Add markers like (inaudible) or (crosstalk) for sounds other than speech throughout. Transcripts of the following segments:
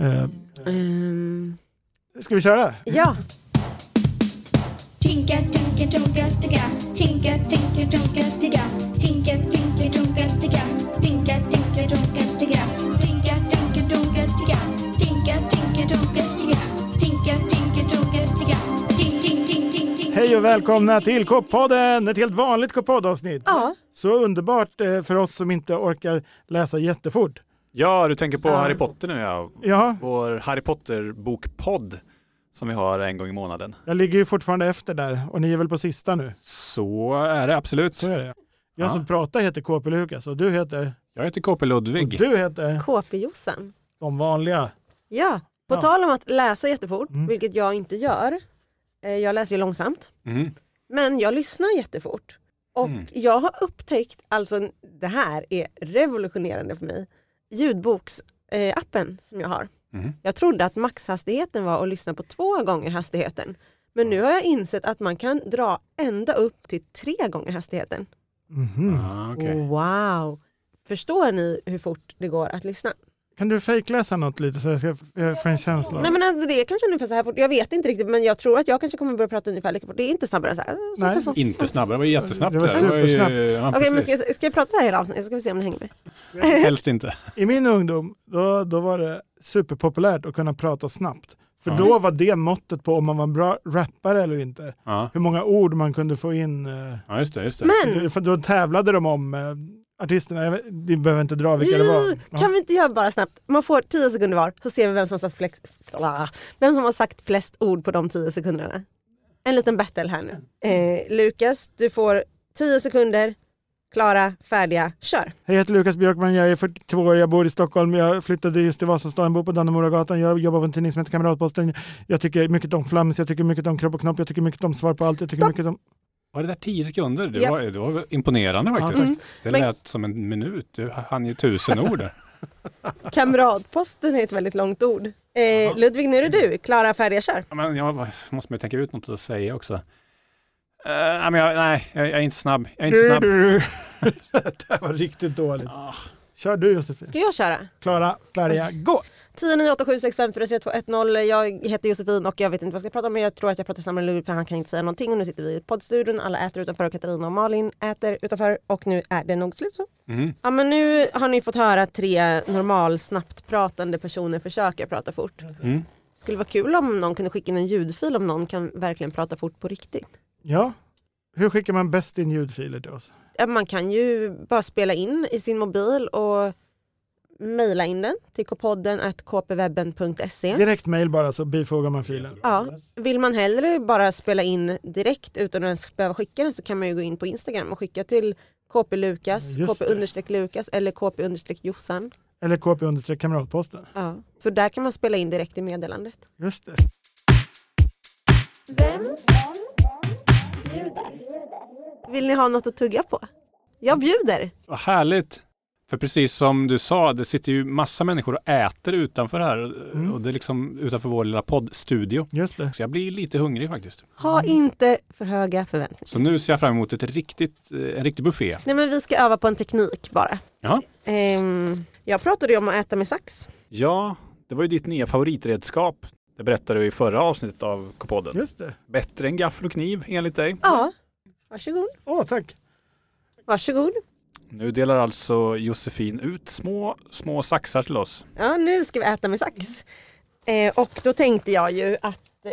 Eh, Ehm, ska vi köra? ja, Tinka, tinka, tonka, ticka. Tinka, tinka, tonka, ticka. Tinka, tinka, tonka, ticka. Tinka, tinka, tonka, ticka. Tinka, tinka, tonka, ticka. Tinka, tinka, tonka, ticka. Tinka, tinka, tonka, ticka. Tink, tink, tink, tink, tink. Hej och välkomna till K-podden! Ett helt vanligt K-podd-avsnitt. ja, Så underbart eh, för oss som inte orkar läsa jättefort. Ja, du tänker på Ja. Harry Potter nu ja. Ja, Vår Harry Potter-bokpodd som vi har en gång i månaden. jag ligger ju fortfarande efter där och ni är väl på sista nu? Så är det absolut. Så är det. Jag Ja. som pratar heter KP Lukas och du heter? Jag heter KP Och Ludvig. du heter? KP-Jossan. De vanliga. Ja, på Ja. tal om att läsa jättefort, Mm. vilket jag inte gör. Eh, Jag läser ju långsamt, Mm. men jag lyssnar jättefort. Och Mm. jag har upptäckt, alltså det här är revolutionerande för mig, ljudboksappen eh, som jag har. Mm. Jag trodde att maxhastigheten var att lyssna på två gånger hastigheten. Men nu har jag insett att man kan dra ända upp till tre gånger hastigheten. Mhm. Ah, okej. Wow! Förstår ni hur fort det går att lyssna? Kan du fejkläsa något lite så jag ska jag får en känsla? Nej men alltså det är kanske ungefär så här fort, jag vet inte riktigt men jag tror att jag kanske kommer börja prata ungefär lika fort. Det är inte snabbare så här. Så Nej. typ så. Okej Inte snabbare, det var jättesnabbt. Det var där. ju- supersnabbt. ja, men precis. ska, jag- ska jag prata så här hela avsnittet? Ska vi se om ni hänger med? Helst inte. I min ungdom, då, då var det superpopulärt att kunna prata snabbt. För Ja. då var det måttet på om man var en bra rappare eller inte. Ja, Hur många ord man kunde få in. eh, ja just det. Just det. Men! För då tävlade de om eh, artisterna. Jag vet- Ni behöver inte dra vilka det var. Jo, mm, kan vi inte göra bara snabbt? Man får 10 sekunder var så ser vi vem som har sagt, flex, bla, vem som har sagt flest ord på de 10 sekunderna. En liten battle här nu. Eh, Lukas, du får 10 sekunder. Klara, färdiga, kör! Hej, jag heter Lukas Björkman, jag är 42 år, jag bor i Stockholm, jag flyttade just till Vasastan, bor på Dannemoragatan, jag jobbar på en tidning som heter Kamratposten, jag tycker mycket om flams, jag tycker mycket om kropp och knopp, jag tycker mycket om svar på allt, jag tycker Stopp! mycket om... Var det där tio sekunder? Det Ja. var, det var imponerande faktiskt. Ja, Mm. Det Men- lät som en minut. Du hann ju tusen (laughs) ord där. Kamratposten är ett väldigt långt ord. Eh, Ludvig, nu är det du. Klara, färdiga, kör! Ja, men jag måste man ju tänka ut något att säga också. Eh, nej, men jag, nej, jag, jag är inte snabb. Jag är inte snabb. (laughs) det här var riktigt dåligt. Kör du Josefin. Ska jag köra? Klara, färdiga, gå! 10 9 8 7 6 5 4 3 2 1 0. Jag heter Josefin och jag vet inte vad jag ska prata om men jag tror att jag pratar samma lur för han kan inte säga någonting och nu sitter vi i poddstudion. Alla äter utanför och Katarina och Malin äter utanför och nu är det nog slut så. Mm. Ja men nu har ni fått höra tre normal snabbt pratande personer försöka prata fort. Mm. Skulle vara kul om någon kunde skicka in en ljudfil om någon kan verkligen prata fort på riktigt. Ja, hur skickar man bäst in ljudfiler till oss? Ja, Man kan ju bara spela in i sin mobil och mejla in den till kpodden kpwebben.se. Direkt mail bara så bifogar man filen. Ja, vill man hellre bara spela in direkt utan att ens behöva skicka den så kan man ju gå in på Instagram och skicka till KP Lukas, Just KP understreck Lukas eller KP understreck Jossan. Eller KP understreck Kamratposten. Ja. Så där kan man spela in direkt i meddelandet. Just det. Vill ni ha något att tugga på? Jag bjuder! Vad härligt! För precis som du sa, det sitter ju massa människor och äter utanför här. Och det är liksom utanför vår lilla poddstudio. Just det. Så jag blir lite hungrig faktiskt. Ha inte för höga förväntningar. Så nu ser jag fram emot ett riktigt, eh, en riktig buffé. Nej men vi ska öva på en teknik bara. Ja. Ehm, jag pratade ju om att äta med sax. ja, det var ju ditt nya favoritredskap. Det berättade du i förra avsnittet av K-podden. Just det. Bättre än gaffel och kniv enligt dig. Ja, varsågod. Åh, tack. Varsågod. Nu delar alltså Josefin ut små, små saxar till oss. Ja, nu ska vi äta med sax. Eh, och då tänkte jag ju att eh,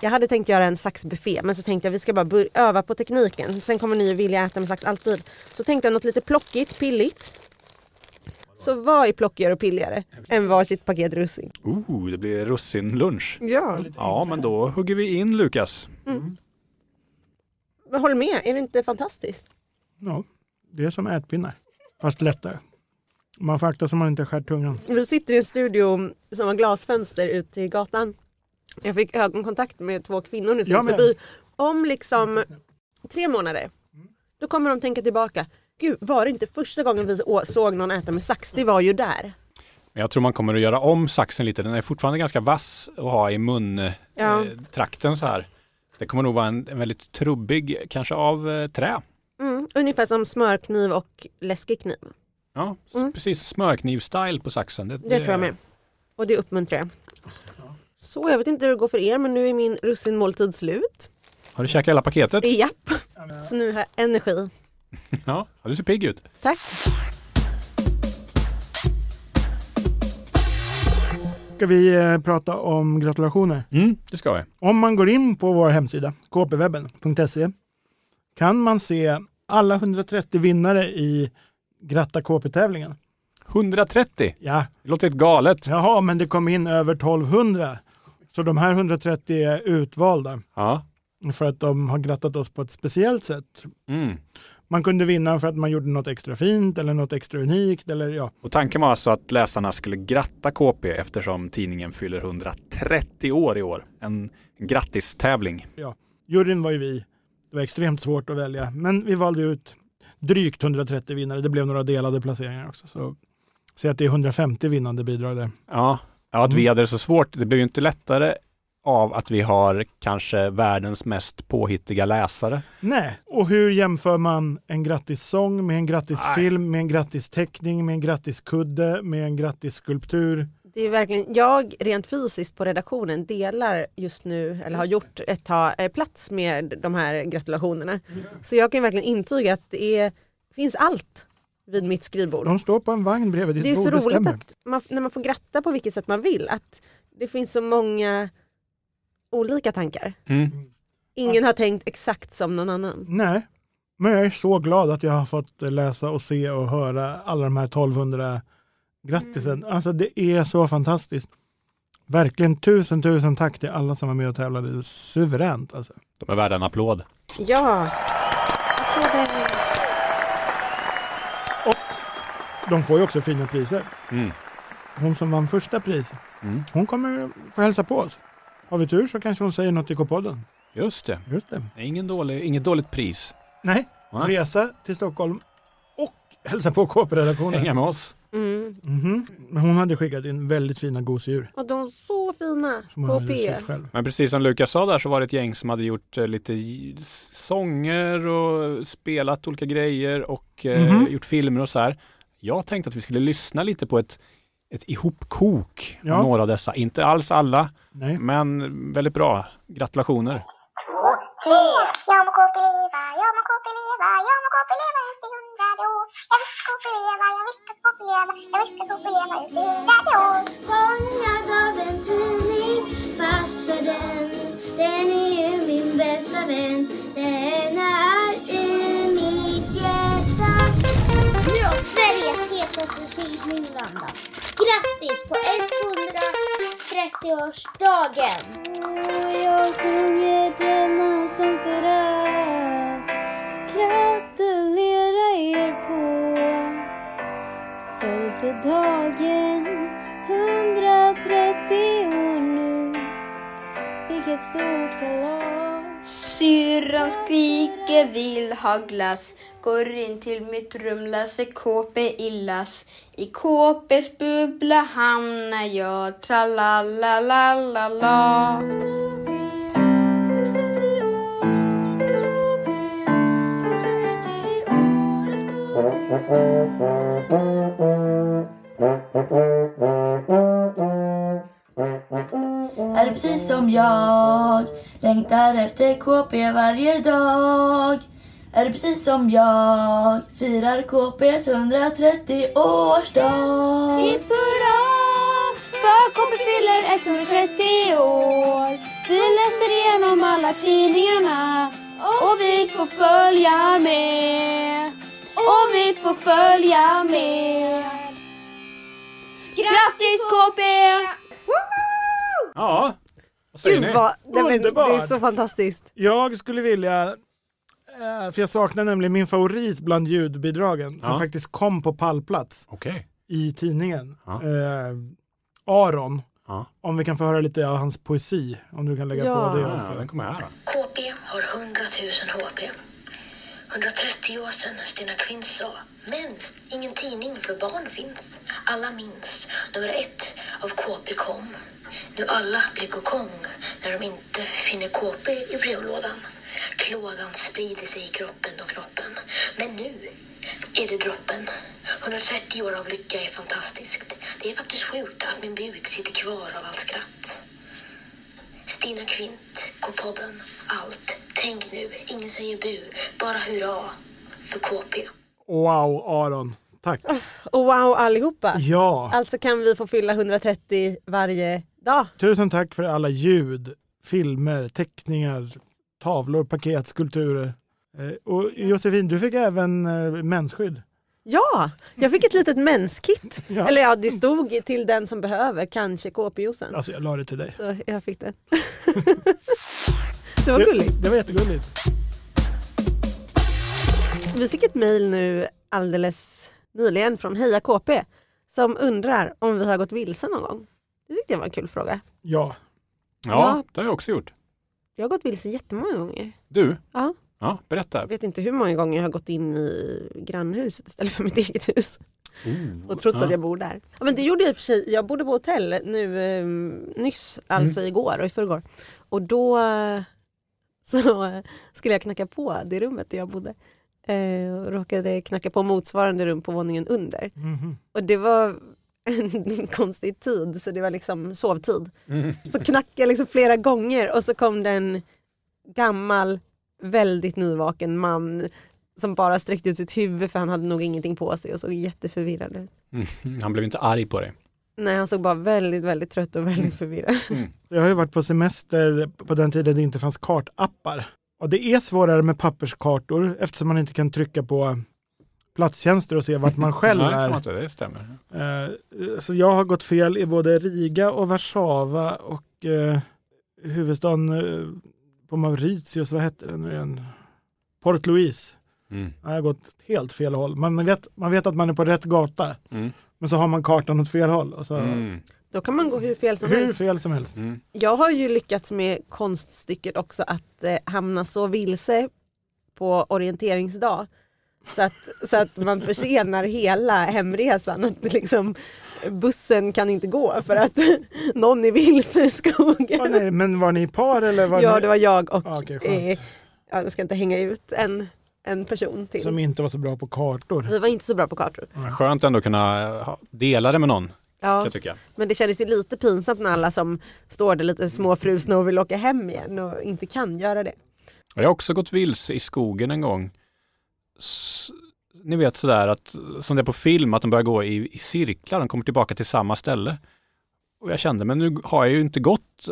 jag hade tänkt göra en saxbuffé men så tänkte jag vi ska bara bör- öva på tekniken. Sen kommer ni ju vilja äta med sax alltid. Så tänkte jag något lite plockigt, pilligt. Så vad är plockigare och pilligare än varsitt paket russin? Ooh, det blir russinlunch. Ja. Ja, men då hugger vi in Lukas. Men håll med, är det inte fantastiskt? Ja, det är som ätpinnar. Fast lättare. Man får akta så man inte skär tungan. Vi sitter i en studio som har glasfönster ut till gatan. Jag fick ögonkontakt med två kvinnor nu som Jag gick med. förbi. Om liksom tre månader, då kommer de tänka tillbaka. Gud, var det inte första gången vi å- såg någon äta med sax? Det var ju där. Men Jag tror man kommer att göra om saxen lite. Den är fortfarande ganska vass att ha i muntrakten Ja. eh, trakten så här. Det kommer nog vara en, en väldigt trubbig, kanske av eh, trä. Mm. Ungefär som smörkniv och läskig kniv. Ja, s- Mm. precis smörkniv-style på saxen. Det tror jag med. Och det uppmuntrar jag. Så jag vet inte hur det går för er men nu är min russinmåltid slut. Har du käkat hela paketet? Japp! Så nu har jag energi. Ja, ja, du ser pigg ut. Tack! Ska vi eh, prata om gratulationer? Mm, det ska vi. Om man går in på vår hemsida, kpwebben.se, kan man se alla 130 vinnare i Gratta KP-tävlingen. 130! Ja, Det låter helt galet. jaha, men det kom in över 1200. Så de här 130 är utvalda Ja. för att de har grattat oss på ett speciellt sätt. Mm. Man kunde vinna för att man gjorde något extra fint eller något extra unikt. Eller, ja. Och tanken var alltså att läsarna skulle gratta KP eftersom tidningen fyller 130 år i år. En grattistävling. Juryn var ju vi. Det var extremt svårt att välja, men vi valde ut drygt 130 vinnare. Det blev några delade placeringar också. Så säg att det är 150 vinnande bidrag där. Ja. ja, att Mm. vi hade det så svårt. Det blev ju inte lättare av att vi har kanske världens mest påhittiga läsare. Nej, och hur jämför man en grattissång med en grattisfilm, med en grattisteckning, med en grattiskudde, med en grattisskulptur? Det är verkligen, jag rent fysiskt på redaktionen delar just nu, eller har gjort ett tag, eh, plats med de här gratulationerna. Så jag kan verkligen intyga att det är, finns allt vid mitt skrivbord. De står på en vagn bredvid ditt Det är bord, så roligt stämmer. att man, när man får gratta på vilket sätt man vill, att det finns så många olika tankar. Mm. Ingen har tänkt exakt som någon annan. Nej, men jag är så glad att jag har fått läsa och se och höra alla de här 1200 grattisen. Alltså det är så fantastiskt. Verkligen tusen, tusen tack till alla som var med och tävlade. Det är Suveränt alltså. De är värda en applåd. Ja! Applåder. De får ju också fina priser. Mm. Hon som vann första pris, Mm. hon kommer få hälsa på oss. Har vi tur så kanske hon säger något i K-podden. Just det. Just det. Det är Ingen dålig, inget dåligt pris. Nej, Va? resa till Stockholm och hälsa på KP-redaktionen. Hänga med oss. Mm. Mhm. Men hon hade skickat in väldigt fina gosedjur. Och de är så fina, Som hon hade KP. sytt själv. Men precis som Lukas sa där så var det ett gäng som hade gjort eh, lite j- sånger och spelat olika grejer och eh, Mhm. gjort filmer och så här. Jag tänkte att vi skulle lyssna lite på ett, ett ihopkok Ja. av några av dessa. Inte alls alla, Nej. men väldigt bra. Gratulationer. tre. Jag må KP leva, jag må KP leva, jag må KP leva ut i hundrade år. Jag visst KP leva, jag visst att KP leva, jag visst att KP leva ut i hundrade år. Många gav en tidning fast för den Den är ju min bästa vän Den är i mitt hjärta Nu har Sveriges hetaste tidning landat. Grattis på 130-årsdagen! Och jag sjunger denna som för att gratulera er på Födelsedagen 130 år nu Vilket stort kalas Syrran skriker vill ha glass. Går in till mitt rum, läser KP illas. I KPs bubbla hamnar jag, tralalalalala. Är det precis som jag? Längtar efter KP varje dag. Är det precis som jag? Firar KPs 130-årsdag. Hipp hurra! För KB fyller 130 år Vi läser igenom alla tidningarna och vi får följa med Och vi får följa med Grattis KB! Ja, vad säger Gud ni? vad, nej, men, det Underbar. är så fantastiskt. Jag skulle vilja, eh, för jag saknar nämligen min favorit bland ljudbidragen som Ja. faktiskt kom på pallplats Okej. i tidningen. Ja. Eh, Aron, Ja. om vi kan få höra lite av hans poesi, om du kan lägga Ja. på det Ja, också. den kommer här. Då. KP har 100 000 HP. 130 år sedan när Stina Kvinn sa Men ingen tidning för barn finns. Alla minns. Nummer ett av KP kom. Nu alla blir kokong när de inte finner KP i brevlådan. Klådan sprider sig i kroppen och knoppen. Men nu är det droppen. 130 år av lycka är fantastiskt. Det är faktiskt sjukt att min buk sitter kvar av allt skratt. Stina Kvint, K-podden, allt. Tänk nu, ingen säger bu, bara hurra för KP. Wow, Aron. (laughs) Tack. Och wow allihopa. Ja. Alltså kan vi få fylla 130 varje dag. Tusen tack för alla ljud, filmer, teckningar, tavlor, paket, skulpturer. Eh, Och Josefin, du fick även eh, mensskydd. Ja, jag fick ett litet menskit. Ja. Eller (laughs) ja, det stod till den som behöver, kanske KP-juicen. Alltså jag la det till dig. Så jag fick den. (laughs) det var gulligt. Det, det var jättegulligt. Vi fick ett mejl nu alldeles nyligen från Heja KP som undrar om vi har gått vilse någon gång. Det tyckte jag var en kul fråga. Ja, Ja. Ja, det har jag också gjort. Jag har gått vilse jättemånga gånger. Du? Ja. Ja, berätta. Jag vet inte hur många gånger jag har gått in i grannhuset istället för mitt eget hus Oh. och trott Ja. att jag bor där. Ja, men det gjorde jag i och för sig. Jag bodde på hotell nu eh, nyss, alltså igår och i förrgår. Och då eh, så (laughs) eh, skulle jag knacka på det rummet där jag bodde. Eh, och råkade knacka på motsvarande rum på våningen under. Och det var en (laughs) konstig tid, så det var liksom sovtid. Så knackade jag liksom flera gånger och så kom det en gammal, väldigt nyvaken man som bara sträckte ut sitt huvud för han hade nog ingenting på sig och såg jätteförvirrad ut. Mm, Han blev inte arg på dig. Nej, han såg bara väldigt, väldigt trött och väldigt förvirrad. Mm. (laughs) jag har ju varit på semester på den tiden det inte fanns kartappar. Och det är svårare med papperskartor eftersom man inte kan trycka på platstjänster och se vart (laughs) man själv Nej, det är. tror jag inte. Det stämmer. Eh, Så jag har gått fel i både Riga och Warszawa och eh, huvudstaden eh, på Mauritius, vad hette den nu igen? Port Louis. Mm. Jag har gått helt fel håll. Man vet, man vet att man är på rätt gata, Mm. men så har man kartan åt fel håll. Och så, Mm. (laughs) Då kan man gå hur fel som Hur helst. fel som helst. Mm. Jag har ju lyckats med konststycket också att eh, hamna så vilse på orienteringsdag så att, så att man försenar hela hemresan. Att det liksom, bussen kan inte gå för att (laughs) någon är vilse i skogen. Var ni, men var ni par eller var Ja, ni det var jag och Ah, okej, skönt. eh, ja, jag ska inte hänga ut en, en person till. som Mm. inte var så bra på kartor? Vi var inte så bra på kartor. Skönt ändå att kunna eh, ha- dela det med någon, kan Ja, jag tycka. men det kändes ju lite pinsamt när alla som står där lite småfrusna och vill åka hem igen och inte kan göra det. Jag har också gått vilse i skogen en gång. S- ni vet sådär att, som det är på film, att de börjar gå i, i cirklar, de kommer tillbaka till samma ställe. Och jag kände, men nu har jag ju inte gått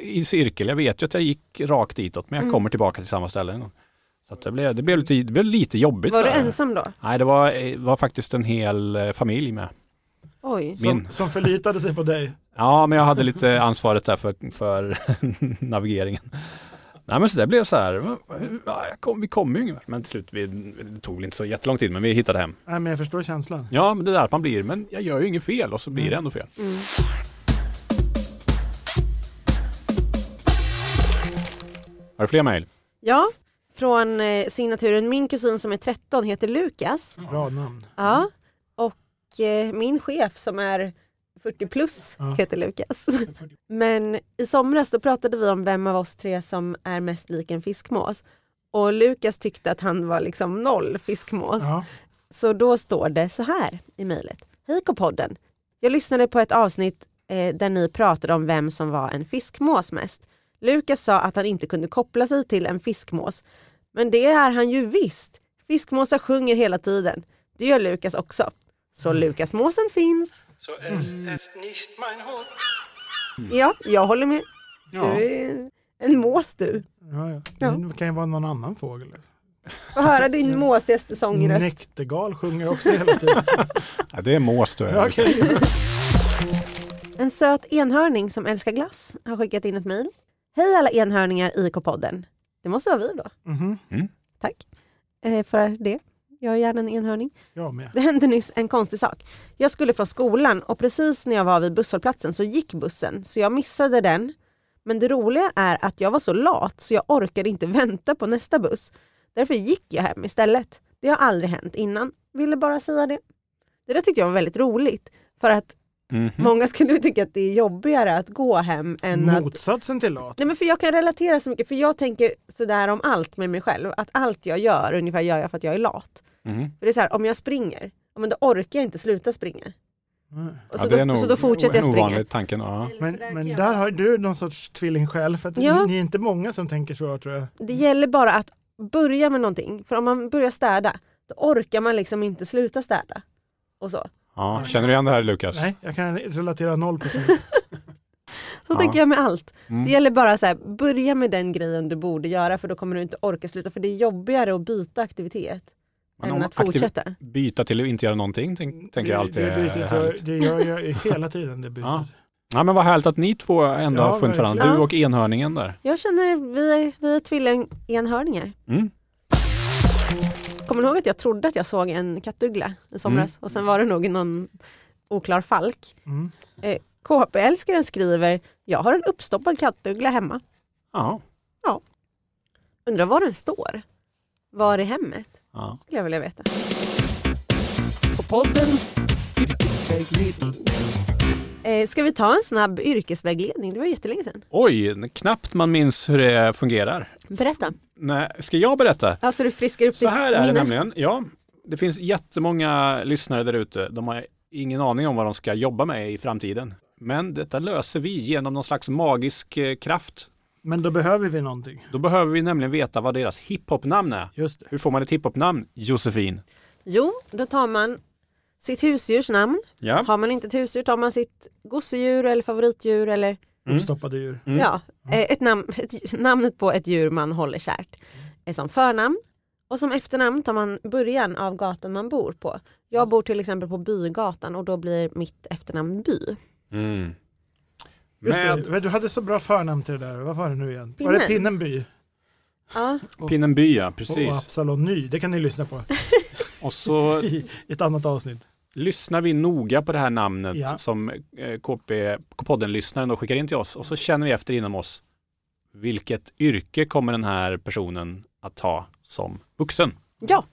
i cirkel, jag vet ju att jag gick rakt ditåt, Mm. men jag kommer tillbaka till samma ställe. en gång. Så att det, blev, det, blev lite, det blev lite jobbigt. Var du sådär. ensam då? Nej, det var, eh, var faktiskt en hel eh, familj med. Oj. Som, Min. som förlitade sig på dig. Ja, men jag hade lite ansvaret där för, för (laughs) navigeringen. Nej, men så det blev så här, va- va- jag kom, vi kom ju ingen vart. Men till slut, vi, det tog väl inte så jättelång tid, men vi hittade hem. Nej, men jag förstår känslan. Ja, men det där att man blir, men jag gör ju inget fel och så blir det ändå fel. Har du fler mejl? Ja, från eh, signaturen min kusin som är 13 heter Lukas. Mm. Bra namn. Ja. Och eh, min chef som är 40 plus Ja. heter Lukas. Men i somras då pratade vi om vem av oss tre som är mest lik en fiskmås. Och Lukas tyckte att han var liksom noll fiskmås. Ja. Så då står det så här i mejlet. Hej K-podden! Jag lyssnade på ett avsnitt eh, där ni pratade om vem som var en fiskmås mest. Lukas sa att han inte kunde koppla sig till en fiskmås. Men det är han ju visst! Fiskmåsar sjunger hela tiden. Det gör Lukas också. Så Lukasmåsen finns. So es ist nicht mein Hut. Ja, jag håller med. Ja. Du är en mås du. Ja, ja. Ja. Det kan ju vara någon annan fågel. Få höra din måsigaste sångröst. Näktergal sjunger också hela (laughs) tiden. (laughs) Ja, det är mås du är. Ja, okej. En söt enhörning som älskar glass har skickat in ett mejl. Hej alla enhörningar i K-podden. Det måste vara vi då. Mhm. Tack eh, för det. Jag är gärna en enhörning. Jag med. Det hände nyss en konstig sak. Jag skulle från skolan och precis när jag var vid busshållplatsen så gick bussen så jag missade den. Men det roliga är att jag var så lat så jag orkade inte vänta på nästa buss. Därför gick jag hem istället. Det har aldrig hänt innan. Ville bara säga det. Det där tyckte jag var väldigt roligt. För att Mhm. många skulle ju tycka att det är jobbigare att gå hem än att Motsatsen till lat. Nej, men för jag kan relatera så mycket, för jag tänker sådär om allt med mig själv. Att allt jag gör ungefär gör jag för att jag är lat. Mhm. För det är så här, om jag springer, ja, men då orkar jag inte sluta springa. Nej. Och Ja, så, det är då, nog Mm. så då fortsätter jag en springa. ovanlig tanken. Ja. Men, men där har du någon sorts tvillingsjäl för att Ja. ni, ni är inte många som tänker så tror jag. Det gäller bara att börja med någonting. För om man börjar städa, då orkar man liksom inte sluta städa. Och så. Ja. Känner du igen det här Lukas? Nej, jag kan relatera noll procent. Så Ja. tänker jag med allt. Mm. Det gäller bara så här, börja med den grejen du borde göra för då kommer du inte orka sluta. För det är jobbigare att byta aktivitet Men om än att aktiv- fortsätta. Byta till att inte göra någonting tänk, (laughs) tänker jag alltid det, är bytet gör- härligt. det gör jag hela tiden. (laughs) Det bytet. Ja. Ja, men vad härligt att ni två ändå Ja, har funnit varandra. verkligen. Du och enhörningen där. Jag känner, vi är, vi är tvilling-enhörningar. Mm. Kommer ni ihåg att jag trodde att jag såg en kattuggla i Mm. somras och sen var det nog någon oklar falk. Mm. Eh, KP-älskaren skriver, jag har en uppstoppad kattuggla hemma. Ja. Undrar var den står? Var i hemmet? ja. Skulle jag vilja veta. Eh, ska vi ta en snabb yrkesvägledning? Det var jättelänge sedan. Oj, knappt man minns hur det fungerar. Berätta. Nej, ska jag berätta? Alltså du friskar upp Så här är det minne. nämligen. Ja, det finns jättemånga lyssnare där ute. De har ingen aning om vad de ska jobba med i framtiden. Men detta löser vi genom någon slags magisk eh, kraft. Men då behöver vi någonting. Då behöver vi nämligen veta vad deras hiphopnamn är. Just det. Hur får man ett hiphopnamn? Josefin. Jo, då tar man sitt husdjurs namn. Ja. Har man inte ett husdjur tar man sitt gosedjur eller favoritdjur eller Uppstoppade djur. Mm. ja, eh, ett namn, ett, namnet på ett djur man håller kärt. Eh, Som förnamn och som efternamn tar man början av gatan man bor på. Jag bor till exempel på Bygatan och då blir mitt efternamn By. Mm. Just det. Med Men Du hade så bra förnamn till det där. Vad var det nu igen? Var det Pinnen. Pinnenby Ja, Pinnenby, ja, och precis. Absalon Ny? Det kan ni lyssna på Och så i ett annat avsnitt. lyssnar vi noga på det här namnet Ja. som eh, KP, podden-lyssnaren då skickar in till oss och så känner vi efter inom oss vilket yrke kommer den här personen att ha som vuxen. ja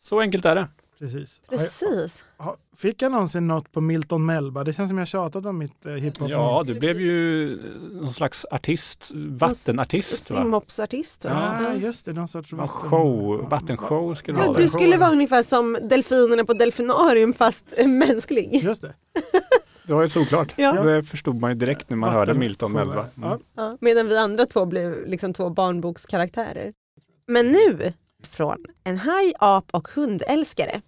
Så enkelt är det. Precis. Har jag- precis. har- Fick jag någonsin något på Milton Melba? Det känns som jag tjatat om mitt eh, hiphop. Ja, du blev ju eh, någon slags artist, vattenartist va? Simhoppsartist. va? Ah, just det, någon sorts Någon vatten- Show, vattenshow skulle det Ja, vara. du skulle vara ungefär som delfinerna på delfinarium fast eh, mänsklig. Just det. Det var ju såklart. Ja. Det förstod man ju direkt när man hörde Milton Vattenshow, Melba. ja. Mm. Ja, medan vi andra två blev liksom två barnbokskaraktärer. Men nu från en haj, ap och hundälskare.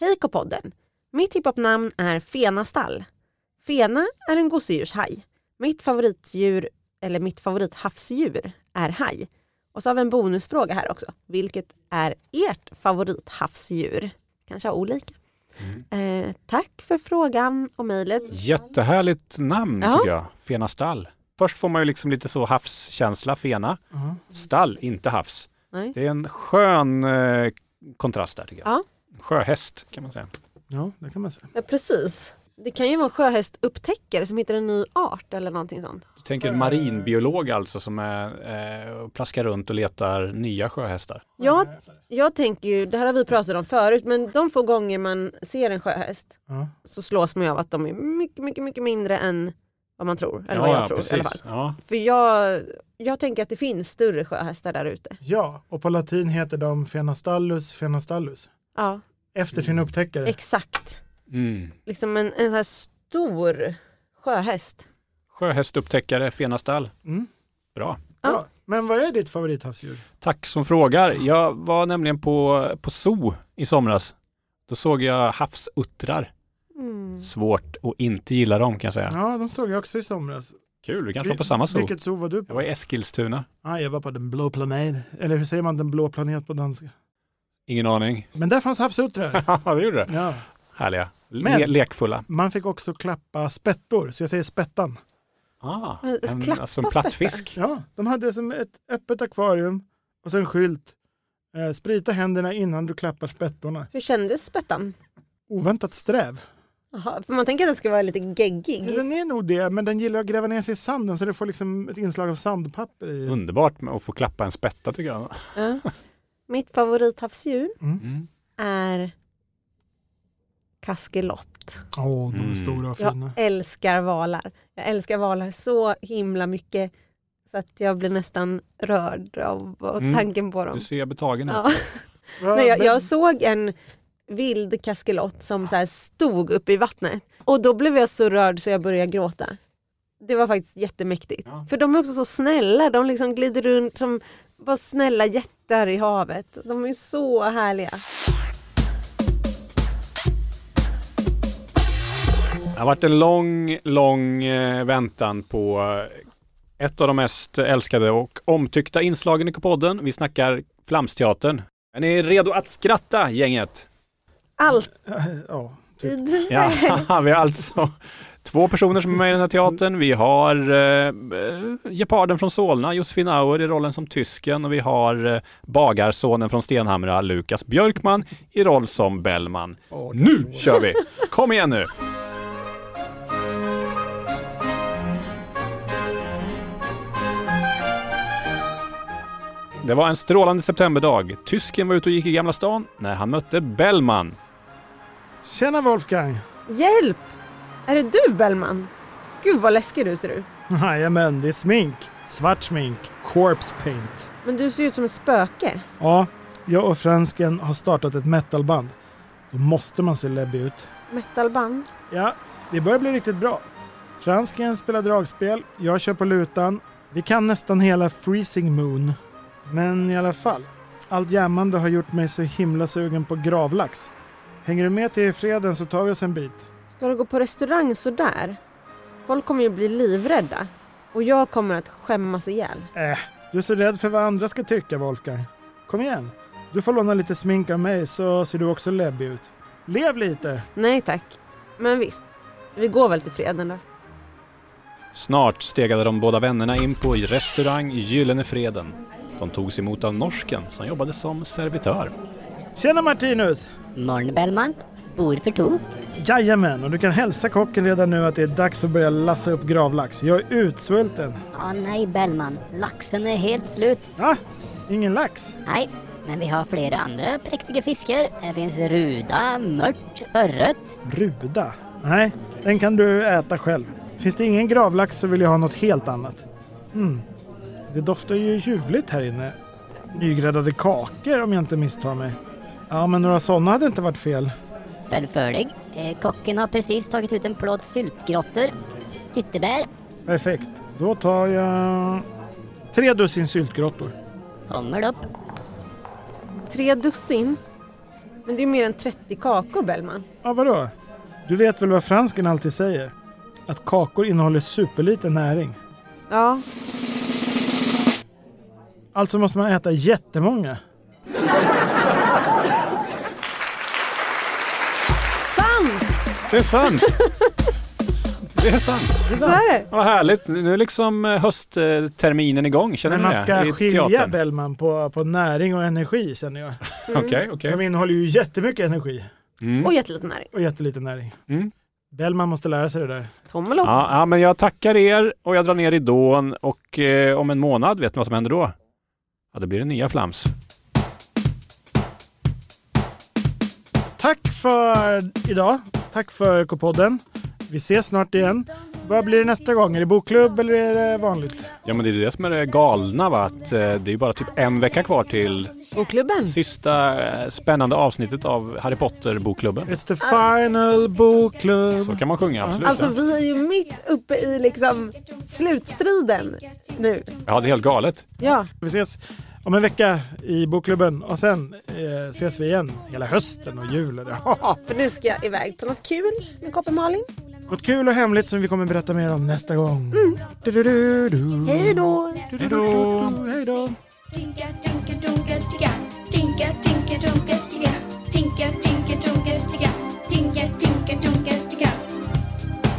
Hej K-podden! Mitt hiphopnamn är Fenastall. Fena är en gosedjurshaj. Mitt favoritdjur, eller mitt favorithavsdjur, är haj. Och så har vi en bonusfråga här också. Vilket är ert favorithavsdjur? Kanske har olika. Eh, tack för frågan och mejlet. Jättehärligt namn Ja. tycker jag. Fena stall. Först får man ju liksom lite så havskänsla, fena. Ja. Stall, inte havs. Nej. Det är en skön eh, kontrast där tycker jag. Ja. Sjöhäst kan man säga. Ja, det kan man säga. Ja, precis. Det kan ju vara en sjöhästupptäckare som hittar en ny art eller någonting sånt. Du tänker en marinbiolog alltså som är, eh, och plaskar runt och letar nya sjöhästar. Jag, jag tänker ju, det här har vi pratat om förut, men de få gånger man ser en sjöhäst Ja. så slås man ju av att de är mycket, mycket, mycket mindre än vad man tror. Eller vad jag tror i alla fall. Ja. För jag, jag tänker att det finns större sjöhästar där ute. ja, och på latin heter de Fenastallus fenastallus. Ja, Efter sin upptäckare. exakt. Mm. Liksom en, en sån här stor sjöhäst. Sjöhästupptäckare, fena stall. Mm. Bra. Ja. Men vad är ditt favorithavsdjur? Tack som frågar. Jag var nämligen på, på zoo i somras. Då såg jag havsuttrar. Mm. Svårt att inte gilla dem kan jag säga. Ja, de såg jag också i somras. Kul, vi kanske var på samma zoo. Vilket zoo var du Jag på? var i Eskilstuna. Ah, jag var på den blå planeten. Eller hur säger man den blå planet på danska? Ingen aning. Men där fanns (laughs) havsuttrar. (laughs) Ja, det gjorde det. ja. Härliga. Men- Le- lekfulla. Man fick också klappa spettor, så jag säger spettan. Ah, Men en, klappa alltså en plattfisk. Ja, de hade som ett öppet akvarium och så en skylt. Eh, sprita händerna innan du klappar spettorna. Hur kändes spettan? Oväntat sträv. Jaha, för man tänker att den ska vara lite geggig. Ja, Den är nog det, men den gillar att gräva ner sig i sanden så det får liksom ett inslag av sandpapper i. den. Underbart med att få klappa en spätta tycker jag. Ja. Mitt favorithavsdjur Mm. är kaskelott. Åh, de är Mm. stora och Jag fina. älskar valar. Jag älskar valar så himla mycket så att jag blir nästan rörd av av Mm. tanken på dem. Du ser betagen ut. Ja. Ja, (laughs) Nej, jag, men- jag såg en vild kaskelot som så här stod uppe i vattnet och då blev jag så rörd så jag började gråta. Det var faktiskt jättemäktigt. För de är också så snälla, de liksom glider runt som bara snälla jättar i havet. De är så härliga. Det har varit en lång, lång eh, väntan på eh, ett av de mest älskade och omtyckta inslagen i podden. Vi snackar Flamsteatern. Är ni redo att skratta gänget? Alltid. Ja. Ja, (laughs) vi har alltså två personer som är med i den här teatern. Vi har eh, eh, Geparden från Solna, Josefin Auer i rollen som tysken och vi har eh, bagarsonen från Stenhamra, Lukas Björkman i roll som Bellman. Nu kör vi! Kom igen nu! Det var en strålande septemberdag. Tysken var ute och gick i Gamla stan när han mötte Bellman. Tjena Wolfgang! (laughs) Hjälp! Är det du Bellman? Gud vad läskig du ser ut. Jajamän, det är smink. Svart smink. Corpse paint. Men du ser ut som ett spöke. Ja, jag och fransken har startat ett metalband. Då måste man se läbbig ut. Metalband. Ja, det börjar bli riktigt bra. Fransken spelar dragspel, jag kör på lutan. Vi kan nästan hela Freezing Moon. Men i alla fall, allt jammande har gjort mig så himla sugen på gravlax. Hänger du med till freden så tar vi oss en bit. Ska du gå på restaurang sådär? Folk kommer ju bli livrädda. Och jag kommer att skämmas ihjäl. Äh, du är så rädd för vad andra ska tycka, Wolfgang. Kom igen, du får låna lite smink av mig så ser du också läbbig ut. Lev lite! Nej tack. Men visst, vi går väl till freden då. Snart stegade de båda vännerna in på restaurang Gyllene Freden. De togs emot av norsken som jobbade som servitör. Tjena Martinus! Morgon Bellman. Bor för to. Jajamän, och du kan hälsa kocken redan nu att det är dags att börja lassa upp gravlax. Jag är utsvulten. Å nej Bellman, laxen är helt slut. Va? Ingen lax? Nej, men vi har flera andra präktiga fiskar. Här finns ruda, mört, örret. Ruda? Nej, den kan du äta själv. Finns det ingen gravlax så vill jag ha något helt annat. Mm. Det doftar ju ljuvligt här inne. Nygräddade kakor om jag inte misstar mig. Ja, men några sådana hade inte varit fel. Självförlig. Eh, kocken har precis tagit ut en plåt syltgrottor, tyttebär, Perfekt. Då tar jag tre dussin syltgrottor. tommel upp. Tre dussin? Men det är ju mer än 30 kakor Bellman. Ja, vadå? Du vet väl vad fransken alltid säger? Att kakor innehåller superlite näring. Ja, Alltså måste man äta jättemånga. sant! Det (laughs) är sant! Det är sant! Så är det. Vad härligt! Nu är liksom höstterminen igång, känner Men ni man det? ska I skilja teatern. Bellman på, på näring och energi känner jag. Okej, okej. De innehåller ju jättemycket energi Mm. Och jätteliten näring. och jättelite näring. Mm. Bellman måste lära sig det där. Tommel upp. Ja, ja, men jag tackar er och jag drar ner ridån och eh, om en månad, vet ni vad som händer då? Ja, det blir det nya flams. Tack för idag. Tack för K-podden. Vi ses snart igen. Vad blir det nästa gång? Är det bokklubb eller är det vanligt? Ja, men det är det som är det galna, va? Att eh, det är bara typ en vecka kvar till Och klubben. sista eh, spännande avsnittet av Harry Potter-bokklubben. It's the final bokklubb. Så kan man sjunga, absolut. Alltså ja. vi är ju mitt uppe i liksom slutstriden nu. ja, det är helt galet. Ja, Vi ses om en vecka i bokklubben och sen eh, ses vi igen hela hösten och julen. (laughs) för nu ska jag iväg på något kul med Koppen Malin. Något kul och hemligt som vi kommer berätta mer om nästa gång. Du-du-du-du. Mm. Hej då! Du-du-du-du. Hej då! Tinka, tinka, dunka, tigga. Tinka, tinka, dunka, tigga. Tinka, tinka, dunka, tigga. Tinka, tinka, dunka, tigga.